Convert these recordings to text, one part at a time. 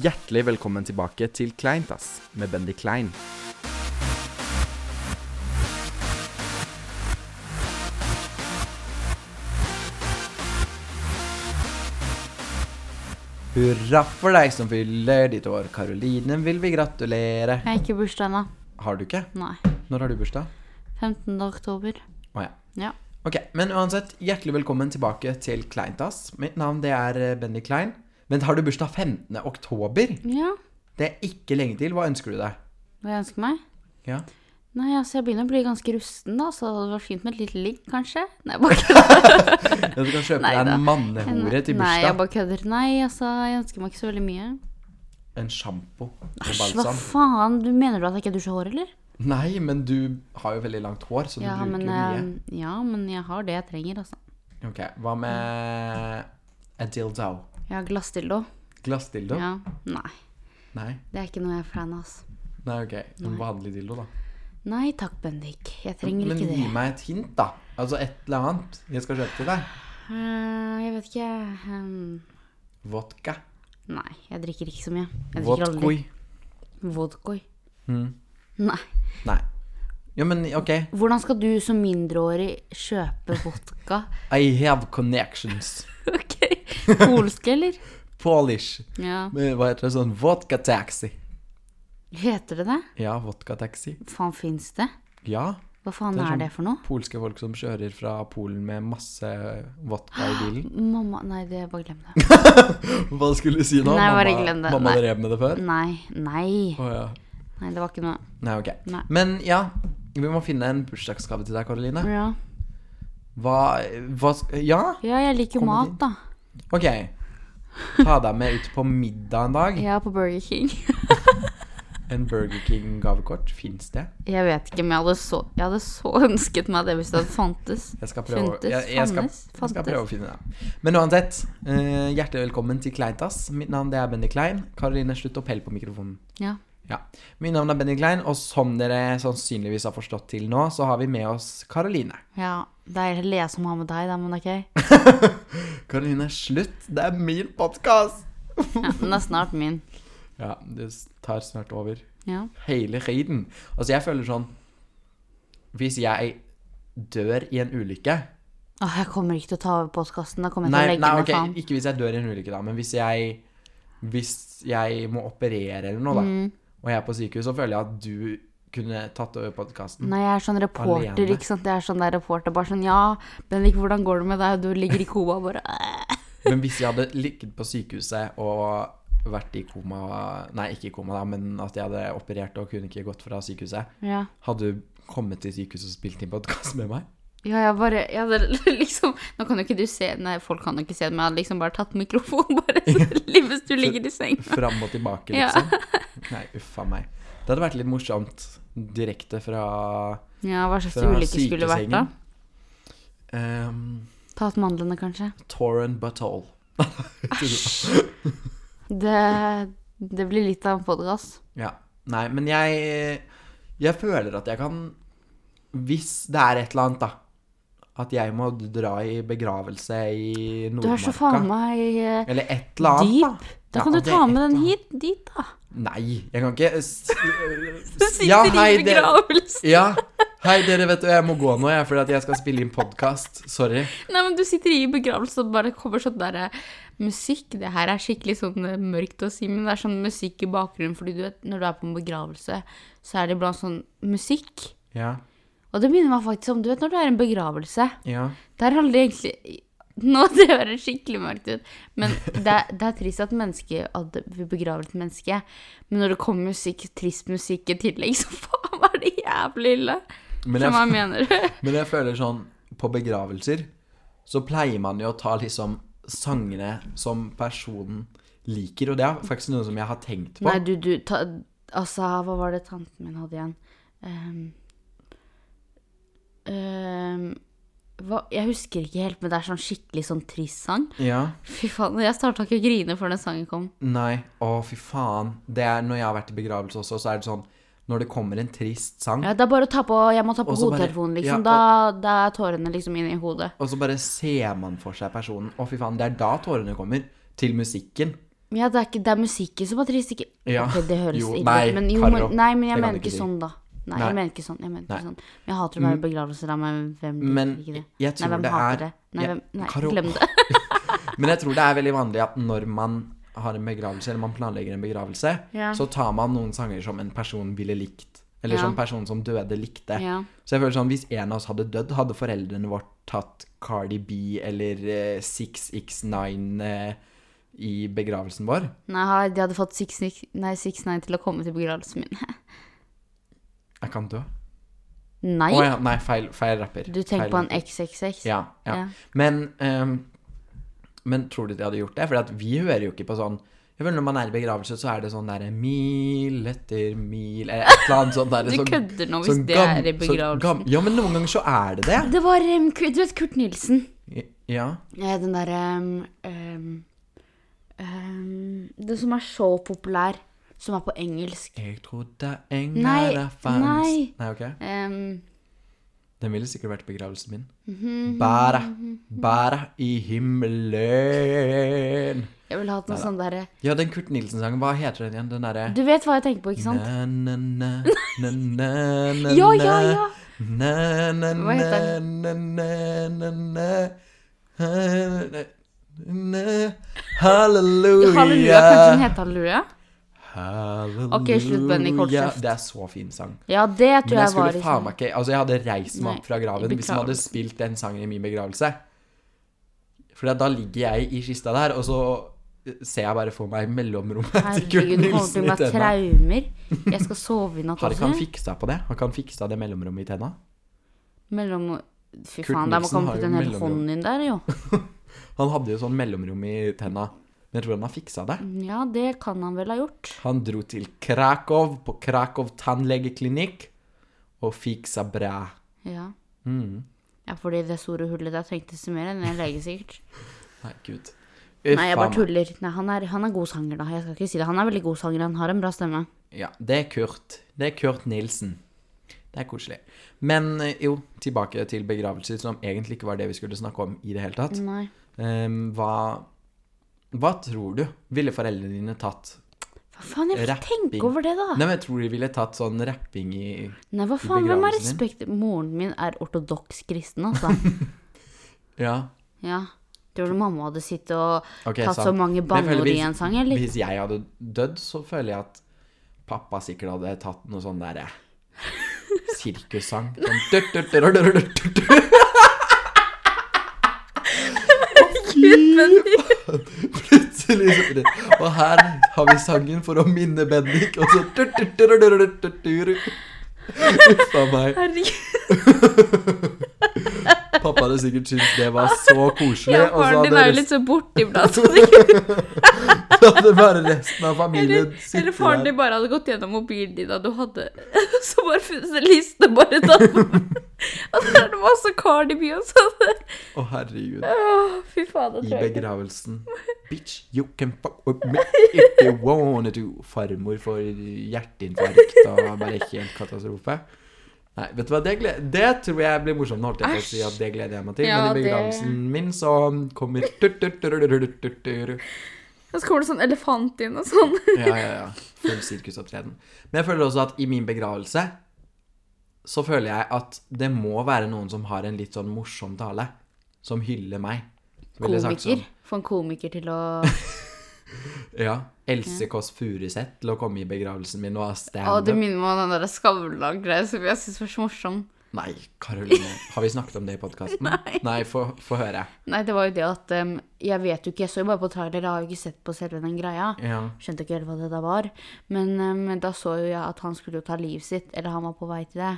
Hjertelig velkommen tilbake til Kleint, ass, med Bendy Klein. Hurra for deg som fyller ditt år. Karoline vil vi gratulere. Jeg har ikke bursdag ennå. Har du ikke? Nei. Når har du bursdag? 15. oktober. Å ja. Ja. Ok, men uansett, hjertelig velkommen tilbake til Kleintass. Mitt navn det er eh, Bendy Klein. Vent, har du bursdag 15. oktober? Ja. Det er ikke lenge til. Hva ønsker du deg? Hva jeg ønsker meg? Ja. Nei, altså, jeg begynner å bli ganske rusten, da, så det hadde vært fint med et lite ligg, kanskje? Nei, jeg bare kødder. Ja, Du kan kjøpe Nei deg da. en mannehore til Nei, jeg bursdag. bare kødder. Nei, altså, jeg ønsker meg ikke så veldig mye. En sjampo og Æsj, hva balsam. faen? Du mener du at jeg ikke dusjer hår, eller? Nei, men du har jo veldig langt hår, så du Ja bruker men, jo mye. eh, ja, men jeg har det jeg trenger, altså. Ok, hva med a dildo? Jeg har glassdildo. Glassdildo? Ja. Nei, Nei. det er ikke noe jeg er fan av, altså. Nei, ok. En vanlig dildo, da. Nei takk, Bendik. Jeg trenger Men ikke det. gi meg et hint, da. Altså et eller annet jeg skal kjøpe til deg. Eh, jeg vet ikke. ehm, Vodka. nei, jeg drikker ikke så mye. Jeg drikker aldri. Vodkoi. Vodkoi. Mm. Nei. Nei. Ja, men ok. Hvordan skal du som mindreårig kjøpe vodka? I have connections. ok. Polsk, eller? Polish. Ja. Men Hva heter det sånn? Vodka taxi. Heter det det? Ja, vodka taxi. Faen, fins det? Ja. Hva faen Det er er, sånn- det for noe? Polske folk som kjører fra Polen med masse vodka i bilen. Mamma Nei, det bare glem det. Hva skulle du si nå? Nei, bare Mamma- glem det. Mamma Nei. drev med det før? Nei. Nei. Å ja. Nei, det var ikke noe Nei, ok. Nei. Men ja, vi må finne en bursdagsgave til deg, Karoline. Ja, Hva, hva sk- Ja? ja jeg liker jo Kommer mat, da. Ok. Ta deg med ut på middag en dag. Ja, på Burger King. En Burger King-gavekort. Fins det? Jeg vet ikke, men jeg hadde så, jeg hadde så ønsket meg det hvis det hadde fantes. Jeg skal prøve, å- Funtes, jeg, jeg skal, fannes, jeg skal fantes. prøve å finne det. Men uansett, eh, hjertelig velkommen til Kleintass. Mitt navn det er Benny Klein. Karoline, slutt å pelle på mikrofonen. Ja. Ja. Mitt navn er Benny Klein, og som dere sannsynligvis har forstått til nå, så har vi med oss Karoline. ja. Det er heller jeg som har med deg, da, men ok. Karoline, slutt! Det er min podkast! Ja, men det er snart min. Ja, det tar snart over. Ja. hele tiden. Altså, jeg føler sånn Hvis jeg dør i en ulykke Åh, Ah, jeg kommer ikke til å ta over podkasten. Da kommer jeg Nei, til å legge nei meg, ok, faen. ikke hvis jeg dør i en ulykke, da, men hvis jeg Hvis jeg må operere eller noe, da, Mm. og jeg er på sykehus, så føler jeg at du kunne tatt over podkasten. Nei, jeg er sånn reporter, Alene. ikke sant. Jeg er sånn der reporter, bare sånn Ja, Bendik, hvordan går det med deg? Du ligger i koma, bare «Æ». Men hvis jeg hadde ligget på sykehuset og vært i koma Nei, ikke i koma, da, men at jeg hadde operert og kunne ikke gått fra sykehuset, ja. hadde du kommet til sykehuset og spilt inn podkast med meg? ja, jeg bare Jeg hadde liksom Nå kan jo ikke du se Nei, folk kan jo ikke se det, men jeg hadde liksom bare tatt mikrofonen, bare sånn, hvis du ligger i seng. Fram og tilbake, Ja. liksom. Nei, uffa meg. Det hadde vært litt morsomt direkte fra, Ja, hva slags fra ulykke skulle det vært, da? sykesengen. Ehm, Tatt mandlene, kanskje? Torren Butthole. Det, det blir litt av en podkast. Ja. Nei, men jeg Jeg føler at jeg kan Hvis det er et eller annet, da. At jeg må dra i begravelse i Du er så faen Nordmarka. meg eh, Eller et eller annet, dyp. da. Da Ja, kan du det ta er med et den eller hit, dit, da. Nei, jeg kan ikke s- Du sitter Ja, hei, i det- begravelsen. Ja. Hei, dere, vet du, jeg må gå nå, jeg, fordi at jeg skal spille inn podkast. Sorry. Nei, men du sitter i begravelsen og bare kommer sånn der eh, musikk. Det her er skikkelig sånn eh, mørkt å si, men det er sånn musikk i bakgrunnen. Fordi du vet, når du er på en begravelse, så er det iblant sånn musikk. Ja. Og det minner meg faktisk om, du vet når det er en begravelse. Ja. Der har aldri egentlig Nå det høres skikkelig mørkt ut, men det er, det er trist at menneske at vi begraver et menneske. Men når det kommer musikk, trist musikk i tillegg, så faen var det jævlig ille. Men Som jeg, jeg mener. Men jeg føler sånn På begravelser så pleier man jo å ta liksom sangene som personen liker, og det er faktisk noe som jeg har tenkt på. Nei, du, du ta, Altså, hva var det tanten min hadde igjen? Ehm, ehm, hva, jeg husker ikke helt, men det er sånn skikkelig sånn trist sang. Ja. Fy faen, jeg starta ikke å grine før den sangen kom. Nei. Å, fy faen. Det er når jeg har vært i begravelse også, så er det sånn Når det kommer en trist sang, Ja, det er bare å ta på Jeg må ta på Og så bare- hodetelefonen, ja, liksom. da, da er tårene liksom inne i hodet. og så bare ser man for seg personen Å, fy faen. Det er da tårene kommer. Til musikken. Ja, det er, ikke, det er musikken som er trist, ikke Ja. Ok, det høres Jo, ille ut. nei, men, jo, Karo, men, nei, men det jeg kan mener du ikke ikke si. sånn, da. Nei, Nei. jeg mener ikke sånn. Jeg mener ikke Nei. Mm. sånn. Men Jeg hater å være i begravelser. Da, men hvem liker Men ikke det? jeg tror nei, hvem det hater er- det? Nei, Ja, hvem, nei Karo. glem det. Men jeg tror det er veldig vanlig at når man har en begravelse, eller man planlegger en begravelse, Ja. så tar man noen sanger som en person ville likt. Eller Ja. som personen som døde, likte. Ja. Så jeg føler sånn, hvis en av oss hadde dødd, hadde foreldrene vårt tatt Cardi B eller eh, 669 eh, i begravelsen vår. Nei, de hadde fått 6-9 til å komme til begravelsen min. Jeg kan dø. Nei! Å ja, nei, feil, feil rapper. Du tenker feil på en rapper. XXX? Ja, ja. Ja. Men, ehm, men tror du de hadde gjort det? For vi hører jo ikke på sånn jeg føler Når man er i begravelse, så er det sånn derre mil etter mil Eller et eller annet sånt. Der, Du sånn- kødder nå hvis sånn det gam- er i sånn begravelsen. gam- ja, men noen ganger så er det det. Det var um, Ku- Du vet Kurt Nilsen? Ja. Eh, Den derre um, um, um, Det som er så populær, som er på engelsk. Jeg trodde engler Nei, der fanns nei. nei, ok. Um, Den ville sikkert vært begravelsen min. Mhm. Bæra, bæra i himmelen. jeg ville hatt noe sånn derre Ja, den Kurt Nilsen-sangen, hva heter den igjen? Den derre Du vet hva jeg tenker på, ikke sant? Na, na, na, na, na, Ja, ja, ja. Na, na, Hva heter den? na, na, na, na, na, na, Halleluja. Halleluja. Kanskje den heter Halleluja? Halleluja. Ok, slutt, Benny Koltzeff. Det er så fin sang. Ja, det Men jeg tror jeg var sånn- liksom. skulle faen meg ikke Altså, jeg hadde reist meg opp Nei, fra graven hvis de beklager. hadde spilt den sangen i min begravelse. For da ligger jeg i kista der, og så ser jeg bare for meg mellomrommet til Kurt Herregud, nå kommer det til Nilsen å i bli tenna. traumer. Jeg skal sove i natt Har ikke han også. fiksa på det? Har ikke han fiksa det mellomrommet i tenna? Mellom Fy Kurt faen, der må Nilsen komme har ut jo en hel mellomrom. hånd inn der, jo. Han hadde jo sånn mellomrom i tenna. Men jeg tror han har fiksa det. Ja, det kan han vel ha gjort. Han dro til Krakow, på Krakow tannlegeklinikk, og fiksa bra. Ja. Mm. ja, fordi det store hullet der trengte ikke mer enn en lege, sikkert. Nei, gud. Nei, jeg bare tuller. Nei, han er, han er god sanger, da. Jeg skal ikke si det. Han er veldig god sanger. Han har en bra stemme. Ja, det er Kurt. Det er Kurt Nilsen. Det er koselig. Men eh, jo, tilbake til begravelser, som egentlig ikke var det vi skulle snakke om i det hele tatt. Nei. Ehm, hva, hva tror du ville foreldrene dine tatt? Hva faen, jeg får ikke Rapping. tenke over det, da. Nei, men jeg tror de ville tatt sånn rapping i Nei, hva faen, hvem er begravelsen din? respekt? Moren min er ortodoks kristen, altså. Ja, Ja. Tror du mamma hadde sittet og ok, tatt sant. så mange Men jeg føler banneord i hvis- en sang, eller? Hvis jeg hadde dødd, så føler jeg at pappa sikkert hadde tatt noe sånn derre sirkussang. Sånn dut, dut, dut, dut, dut, dut, dut. Plutselig så blir det Og her har vi sangen for å minne Bendik, og så dut, dut, dut, dut, dut, dut, dut. Uff a meg. Herregud, Pappa hadde sikkert syntes det var så koselig. ja, og så faren din hadde er jo resten, litt så altså. borti iblant. så det- hadde bare resten av familien Eller, sittet eller faren der. din bare hadde gått gjennom mobilen din, og du hadde Så bare funnet en liste, bare tatt Og så er det masse Cardi B og sånn. Å, herregud. Åh, Fy faen, det I tror jeg ikke. begravelsen. Bitch, you can fuck with me if you wanna do. Farmor får hjerteinfarkt og bare helt katastrofe. Nei, vet du hva, det, gled... det tror jeg blir morsomt. Nå holdt jeg på å si at det gleder jeg meg til. Ja, Men i det- begravelsen min så kommer tut-tut-tut-tut-tut-tut-tut. Og så kommer det sånn elefant inn og sånn. Ja, ja, ja. Full sirkusopptreden. Men jeg føler også at i min begravelse så føler jeg at det må være noen som har en litt sånn morsom tale. Som hyller meg. Så ville jeg sagt sånn- Komiker. Få en komiker til å Ja. Else Kåss Furuseth til å komme i begravelsen min og ha Å, det standup. minner meg om den der Skavlan-greia som jeg syns var så morsom. Nei, Karoline. Har vi snakket om det i podkasten? Nei, få få høre. Nei, det var jo det at um, Jeg vet jo ikke, jeg så jo bare på trailer, jeg har jo ikke sett på selve den greia. Ja. Skjønte ikke helt hva det da var. Men um, da så jo jeg at han skulle jo ta livet sitt, eller han var på vei til det.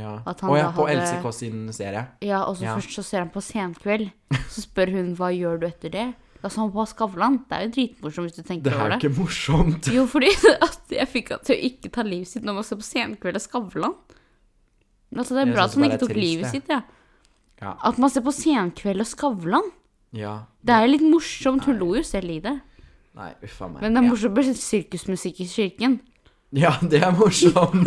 ja. At han Å ja, da på hadde- Else Kåss sin serie. Ja, og så Ja. først så ser han på Senkveld. Så spør hun hva gjør du etter det? Da sa han på Skavlan. Det er jo dritmorsomt hvis du Det tenker er over jo det. ikke morsomt. Jo, fordi at jeg fikk han til å ikke ta livet sitt når man ser på Senkveld og Skavlan. Altså, det er Jeg bra synes at han det ikke bare er tok trist, livet det. sitt, ja. Ja. At man ser på Senkveld og Skavlan. ja. Det er jo litt morsomt. Hun lo jo selv i det. Nei, uff a meg. Men det er morsomt med sirkusmusikk i kirken. Ja, det er morsomt.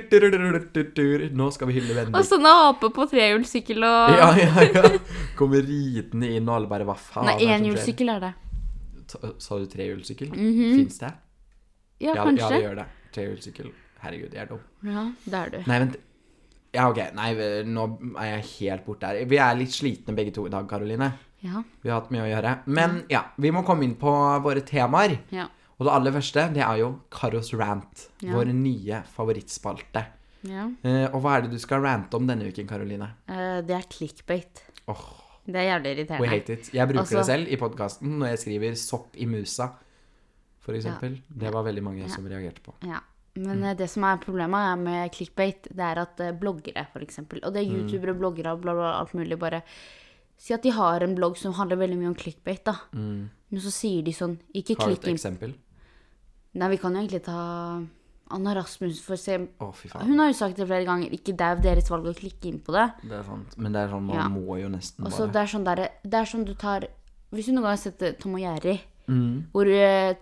Tut-tut-tut-tut-tut-tut. Nå skal vi hylle Og venner. sånne aper på trehjulssykkel og Ja, ja, ja. Kommer ridende inn, og alle bare hva faen er Nei, det som skjer? enhjulssykkel er det. Ta- Sa, sa du trehjulssykkel? Mhm. Fins det? Ja, Ja, ja, det kanskje. gjør det. Trehjulssykkel. Herregud, jeg er dum. Ja, det er du. Nei, vent. Ja, OK. Nei, vi- nå er jeg helt borte her. Vi er litt slitne begge to i dag, Karoline. Ja. Vi har hatt mye å gjøre. Men Mm. ja, vi må komme inn på våre temaer. Ja. Og det aller første, det er jo Karos rant. Ja. Vår nye favorittspalte. ja. Eh, og hva er det du skal rante om denne uken, Karoline? Eh, det er clickbait. Åh, Det er jævlig we irriterende. hate it. Jeg bruker Altså- det selv i podkasten når jeg skriver 'sopp i musa', for eksempel. Det var veldig mange som reagerte på. Ja. Mm. Men eh, det som er problemet er med clickbait, det er at eh, bloggere, for eksempel, og det Mm. er youtubere, bloggere, bla, bla, alt mulig, bare si at de har en blogg som handler veldig mye om clickbait, da. Men så sier de sånn Ikke Mm. Har du et klikk inn eksempel? Nei, vi kan jo egentlig ta Anna Rasmus for å se Å, fy faen. Hun har jo sagt det flere ganger, ikke det er jo deres valg å klikke inn på det. Det er sant. Men det er sånn, man Ja. må jo nesten Og så bare det er sånn derre Det er sånn du tar Hvis du noen gang har sett eh, Tom og Jerry, Mm. hvor eh,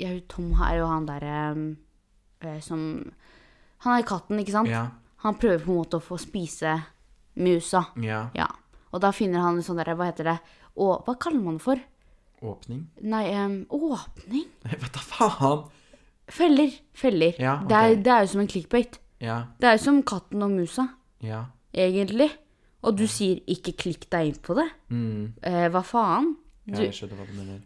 ja, Tom er jo han derre eh, som Han er katten, ikke sant? Ja. Han prøver på en måte å få spise musa. Ja. Ja. Og da finner han en sånn derre Hva heter det? Å, hva kaller man det for? Åpning? Nei, em, åpning? Nei, Vet da faen! Feller. Feller. Ja, ok. det, er, det er jo som en clickbait. Ja. Det er jo som katten og musa, Ja. egentlig. Og du sier 'ikke klikk deg inn på det'. Mm. Eh, hva faen? Ja, jeg skjønner hva du mener.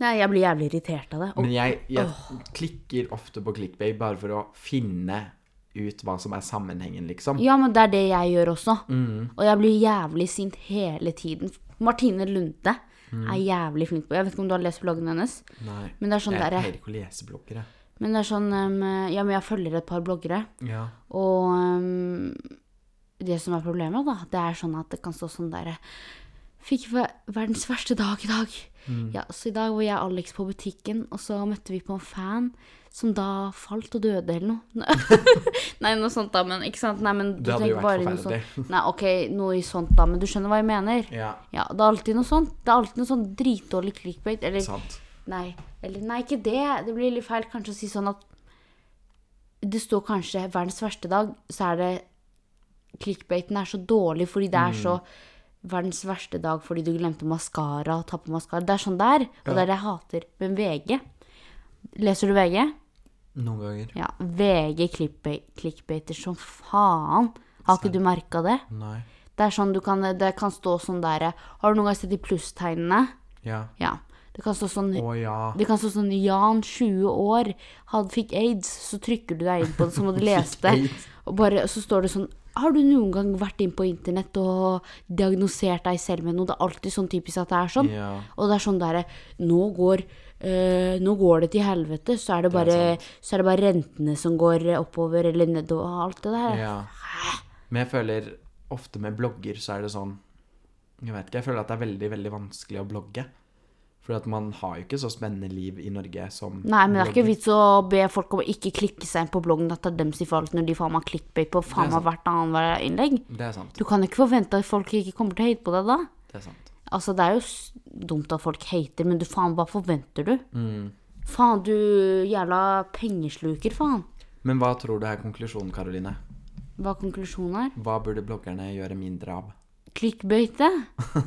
Nei, jeg blir jævlig irritert av det. Og Men jeg, jeg klikker ofte på clickbait bare for å finne ut hva som er sammenhengen, liksom. Ja, men det er det jeg gjør også. Og jeg blir jævlig sint hele tiden. Martine Lunde er jævlig flink på Jeg vet ikke om du har lest bloggen hennes, Nei. men det er sånn jeg derre pleier ikke å lese blokker, jeg. Men det er sånn um, Ja, men jeg følger et par bloggere, Ja. og um, det som er problemet, da, det er sånn at det kan stå sånn derre Fikk ver- verdens verste dag i dag. Mm. Ja, så i dag var jeg og Alex på butikken, og så møtte vi på en fan som da falt og døde eller noe. Nei, noe sånt da, men ikke sant? Nei, men du Det hadde jo tenker vært bare i noe forferdelig. sånt. Nei, ok, noe i sånt da, men du skjønner hva jeg mener. Ja, Ja, det er alltid noe sånt. Det er alltid noe sånn dritdårlig clickbait, eller sant. Nei, eller nei, ikke det. Det blir litt feil kanskje å si sånn at det står kanskje 'verdens verste dag', så er det Clickbaiten er så dårlig fordi det er så 'verdens verste dag' fordi du glemte maskara og ta på maskara. Det er sånn der, og det er det jeg hater. Men VG Leser du VG? Noen ganger. Ja. VG clickba- clickbaiter som faen. Har ikke du merka det? Nei. Det er sånn du kan Det kan stå sånn der Har du noen gang sett de plusstegnene? Ja. Ja. Det kan stå sånn Å ja. det kan stå sånn Jan, 20 år, han fikk aids. Så trykker du deg inn på det, så må du lese det. aids. Og bare, så står det sånn Har du noen gang vært inn på internett og diagnosert deg selv med noe? Det er alltid sånn typisk at det er sånn. Ja. Og det er sånn derre nå, går, eh, nå går det til helvete. Så er det, bare, så er det bare rentene som går oppover eller nedover og alt det der. ja. Men jeg føler ofte med blogger så er det sånn Jeg vet ikke, jeg føler at det er veldig, veldig vanskelig å blogge. Fordi at man har jo ikke så spennende liv i Norge som Nei, men det er ikke blogger. vits å be folk om å ikke klikke seg inn på bloggen. At det er dem som får alt når de faen meg clickbait på faen meg hvert annet innlegg. Det er sant. Du kan ikke forvente at folk ikke kommer til å hate på deg da. Det er sant. Altså, det er jo s- dumt at folk hater, men du faen, hva forventer du? Mm. Faen, du jævla pengesluker, faen. Men hva tror du er konklusjonen, Karoline? Hva konklusjonen er? Hva burde bloggerne gjøre mindre av? Klikkbøyte.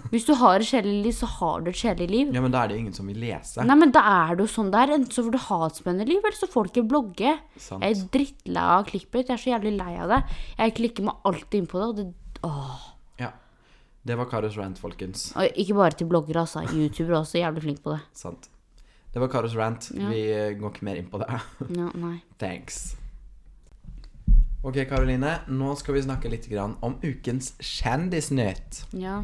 Hvis du har et kjedelig liv, så har du et kjedelig liv. Ja, men da er det jo ingen som vil lese. Nei, men da er det jo sånn der. Enten så får du ha et spennende liv, eller så får du ikke blogge. Sant. Jeg er drittlei av klikkbøyt. Jeg er så jævlig lei av det. Jeg klikker meg alltid inn på det, og det Åh. Ja. Det var Karos rant, folkens. Og ikke bare til bloggere, altså. Youtubere er også jævlig flinke på det. Sant. Det var Karos rant. Vi eh, går ikke mer inn på det. Ja, nei. Thanks. Ok, Karoline. Nå skal vi snakke litt grann om ukens kjendisnytt. Ja.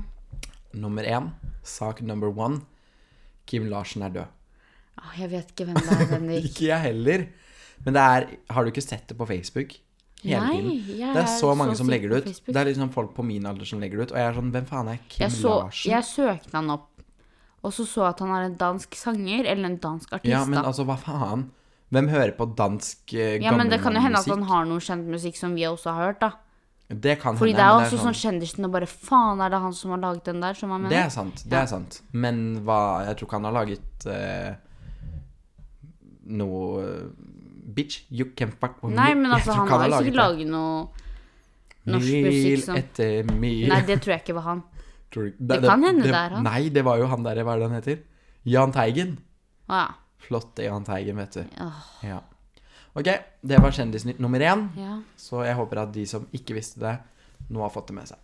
Nummer én, sak number one. Kim Larsen er død. Åh, Ah, jeg vet ikke hvem det er, Bendik. Ikke jeg heller. Men det er Har du ikke sett det på Facebook? Hele Nei, tiden. jeg Det er så er mange så som sikker legger det på ut. Facebook. Det er liksom folk på min alder som legger det ut. Og jeg er sånn Hvem faen er Kim Jeg, så, Larsen? jeg søkte han opp, og så så jeg at han er en dansk sanger, eller en dansk artist. Ja, men da. altså, hva faen? Hvem hører på dansk eh, ja, men det kan jo hende at gammelmannmusikk? han har noe kjent musikk som vi også har hørt, da. Det kan Fordi hende, det er jo men også sånn kjendisen og bare faen, er det han som har laget den der? Som han Det mener? er sant. det er sant. Men hva, jeg tror ikke han har laget eh, noe Bitch, you can fuck with Nei, me. men Jeg altså, tror han ikke har jo sikkert det. laget noe norsk musikk som Mil etter mil Nei, det tror jeg ikke var han. Tror du- det kan hende det er han. Nei, det var jo han der, hva er det han heter? Jahn Teigen. Å ja. Flotte Jahn Teigen, vet du. Åh, Ja. Ok, det var Kjendisnytt nummer én. ja. Så jeg håper at de som ikke visste det, nå har fått det med seg.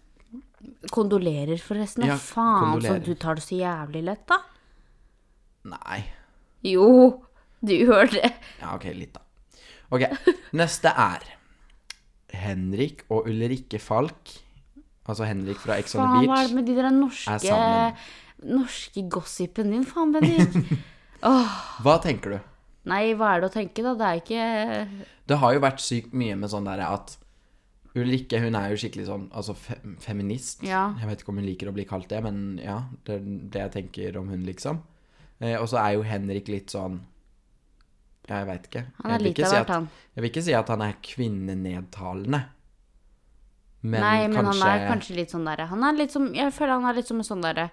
Kondolerer, forresten. Ja, Ja, faen, så kondolerer. du tar det så jævlig lett, da. Nei. Jo, du gjør det. Ja, ok, litt, da. Ok, neste er Henrik og Ulrikke Falk. Altså Henrik fra Ex on Faen, the hva er Beach. det med de der Er norske sammen. Norske gossipen din, faen, Bendik. Hva tenker du? Nei, hva er det å tenke, da? Det er ikke Det har jo vært sykt mye med sånn der at Ulrikke hun er jo skikkelig sånn altså fe feminist. Ja. Jeg vet ikke om hun liker å bli kalt det, men ja, det er det jeg tenker om hun, liksom. Eh, og så er jo Henrik litt sånn ja, Jeg veit ikke. Han er jeg, vil litt ikke av si hvert, at, han. jeg vil ikke si at han er kvinnenedtalende. Men, Nei, men kanskje, han er kanskje litt sånn derre Han er litt som Jeg føler han er litt som en sånn derre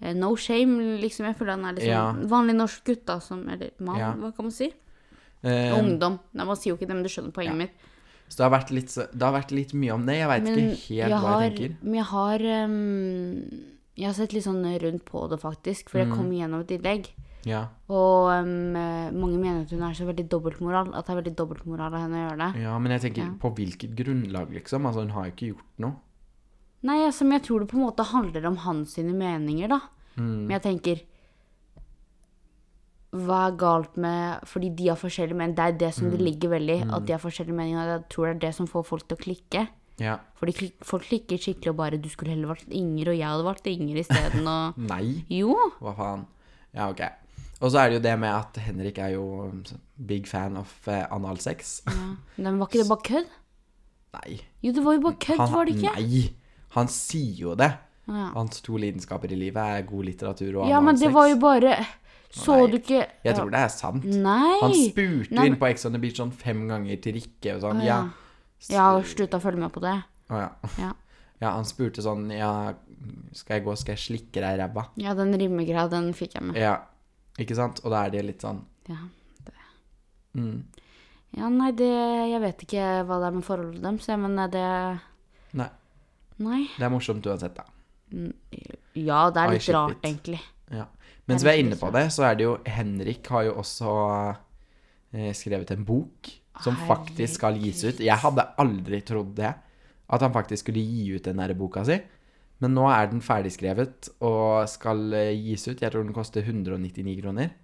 eh, No shame, liksom. Jeg føler han er litt Ja. sånn vanlig norsk gutt, da, som Eller mann, Ja. hva kan man si? eh, Ungdom. Nei, man sier jo ikke det, men du skjønner poenget mitt. Så det har vært litt, så- det har vært litt mye om det. Jeg veit ikke helt hva jeg tenker. Men jeg har ehm, Jeg har sett litt sånn rundt på det, faktisk. For Mm. jeg kom igjennom et innlegg. Ja, Og ehm, eh, mange mener at hun er så veldig dobbeltmoral. At det er veldig dobbeltmoral av henne å gjøre det. ja, men jeg tenker på hvilket grunnlag, liksom. Altså, hun har jo ikke gjort noe. Nei, altså, men jeg tror det på en måte handler om hans sine meninger, da. Mm. Men jeg tenker hva er galt med Fordi de har forskjellige meninger. Det er det som Mm. det ligger veldig at de har forskjellige meninger. og Jeg tror det er det som får folk til å klikke. Ja. Fordi klik- folk klikker skikkelig og bare 'Du skulle heller valgt Inger', og 'jeg hadde valgt Inger' isteden', og Nei. Jo. Hva faen? Ja, ok. Og så er det jo det med at Henrik er jo um, big fan of eh, analsex. Mm. Nei, men var ikke det bare kødd? Nei. Jo, det var jo bare kødd, Han- var det ikke? Nei. Han sier jo det. Ja. Hans to lidenskaper i livet er god litteratur og Ja, men det var jo bare Så Nei, du ikke Jeg tror det er sant. Nei! Han spurte jo Nei, inn på Ex on the Beach sånn fem ganger til Rikke og sånn. Å, Ja. ja. Jeg har slutta å følge med på det. Å, ja. Ja, Ja, han spurte sånn Ja, skal jeg gå, skal jeg slikke deg i ræva? ja den rimegreia, den fikk jeg med. Ja, ikke sant? Og da er det litt sånn Ja, det. Mm. ja nei, det Jeg vet ikke hva det er med forholdet deres, jeg, men det Nei, Nei. det er morsomt uansett, da. Ja, det er I litt ship rart, it. egentlig. Ja. Mens vi er inne på det, så er det jo Henrik har jo også eh, skrevet en bok som faktisk skal gis ut. Jeg hadde aldri trodd det, at han faktisk skulle gi ut den der boka si. Men nå er den ferdigskrevet og skal eh, gis ut. Jeg tror den koster 199 kroner.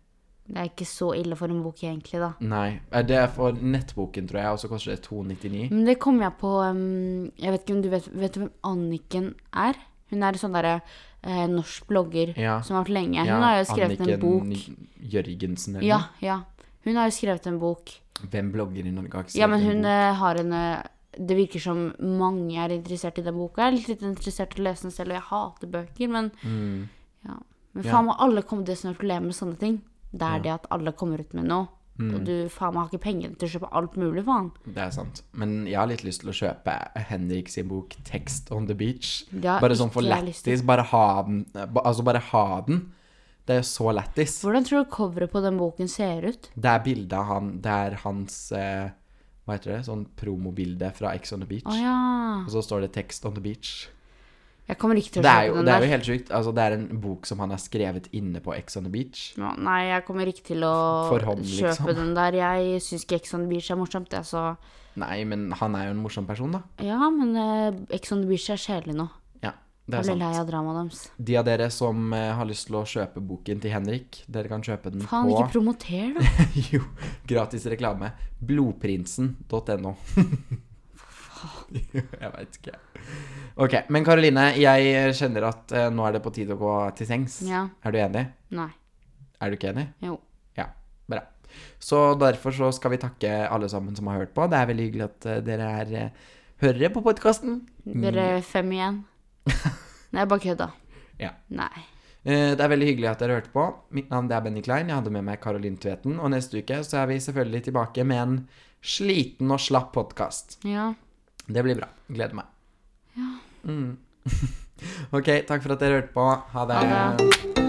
Det er ikke så ille for en bok, egentlig, da. Nei, eh, det er for nettboken, tror jeg, og så koster det 299. Men det kom jeg på um, Jeg vet ikke om du vet, vet du hvem Anniken er? Hun er en sånn derre eh, norsk blogger Ja. som har vært lenge. Hun har jo skrevet en bok. Jørgensen eller Ja, ja. Hun har jo skrevet en bok. noe. Hvem blogger i Norge? har ikke Ja, men skrevet en hun bok? eh, har en eh, Det virker som mange er interessert i den boka. Jeg er litt, litt interessert i å lese den selv, og jeg hater bøker, men Mm. ja. Men faen meg, alle kommer det som er problemet med sånne ting. Det er det at alle kommer ut med noe. Mm. Og du faen meg har ikke pengene til å kjøpe alt mulig, faen. Det er sant. Men jeg har litt lyst til å kjøpe Henrik sin bok 'Text on the Beach'. Ja, bare sånn for ikke jeg lyst til. lættis. Bare ha den. eh, ba- Altså, bare ha den. Det er jo så lættis. Hvordan tror du coveret på den boken ser ut? Det er bildet av han Det er hans eh, Hva heter det? Sånn promobilde fra Ex on the Beach. Å ja. Og så står det 'Text on the Beach'. Jeg kommer ikke til å Det er kjøpe jo, den det er der. jo helt sjukt. Altså, det er en bok som han har skrevet inne på Ex on the Beach. Nå, Nei, jeg kommer ikke til å For hånd, kjøpe liksom. den der. Jeg syns ikke Ex on the Beach er morsomt, jeg, så Nei, men han er jo en morsom person, da. Ja, men eh, Ex on the Beach er kjedelig nå. Ja, det er Jeg blir lei sant. av dramaet deres. De av dere som eh, har lyst til å kjøpe boken til Henrik, dere kan kjøpe den Faen, på ikke promoter, da. Jo, gratis reklame. Blodprinsen.no. jeg veit ikke. Ok, men Karoline, jeg kjenner at eh, nå er det på tide å gå til sengs. Ja. Er du enig? Nei. Er du ikke enig? Jo. Ja, bra. Så derfor så skal vi takke alle sammen som har hørt på. Det er veldig hyggelig at eh, dere er eh, hører på podkasten. Dere er fem igjen. Nei, jeg bare kødda. Ja. Nei. Eh, Det er veldig hyggelig at dere hørte på. Mitt navn det er Benny Klein. Jeg hadde med meg Caroline Tveten. Og neste uke så er vi selvfølgelig tilbake med en sliten og slapp podkast. Ja. Det blir bra. Gleder meg. Ja. Mm. ok, takk for at dere hørte på. Ha det. Ha det.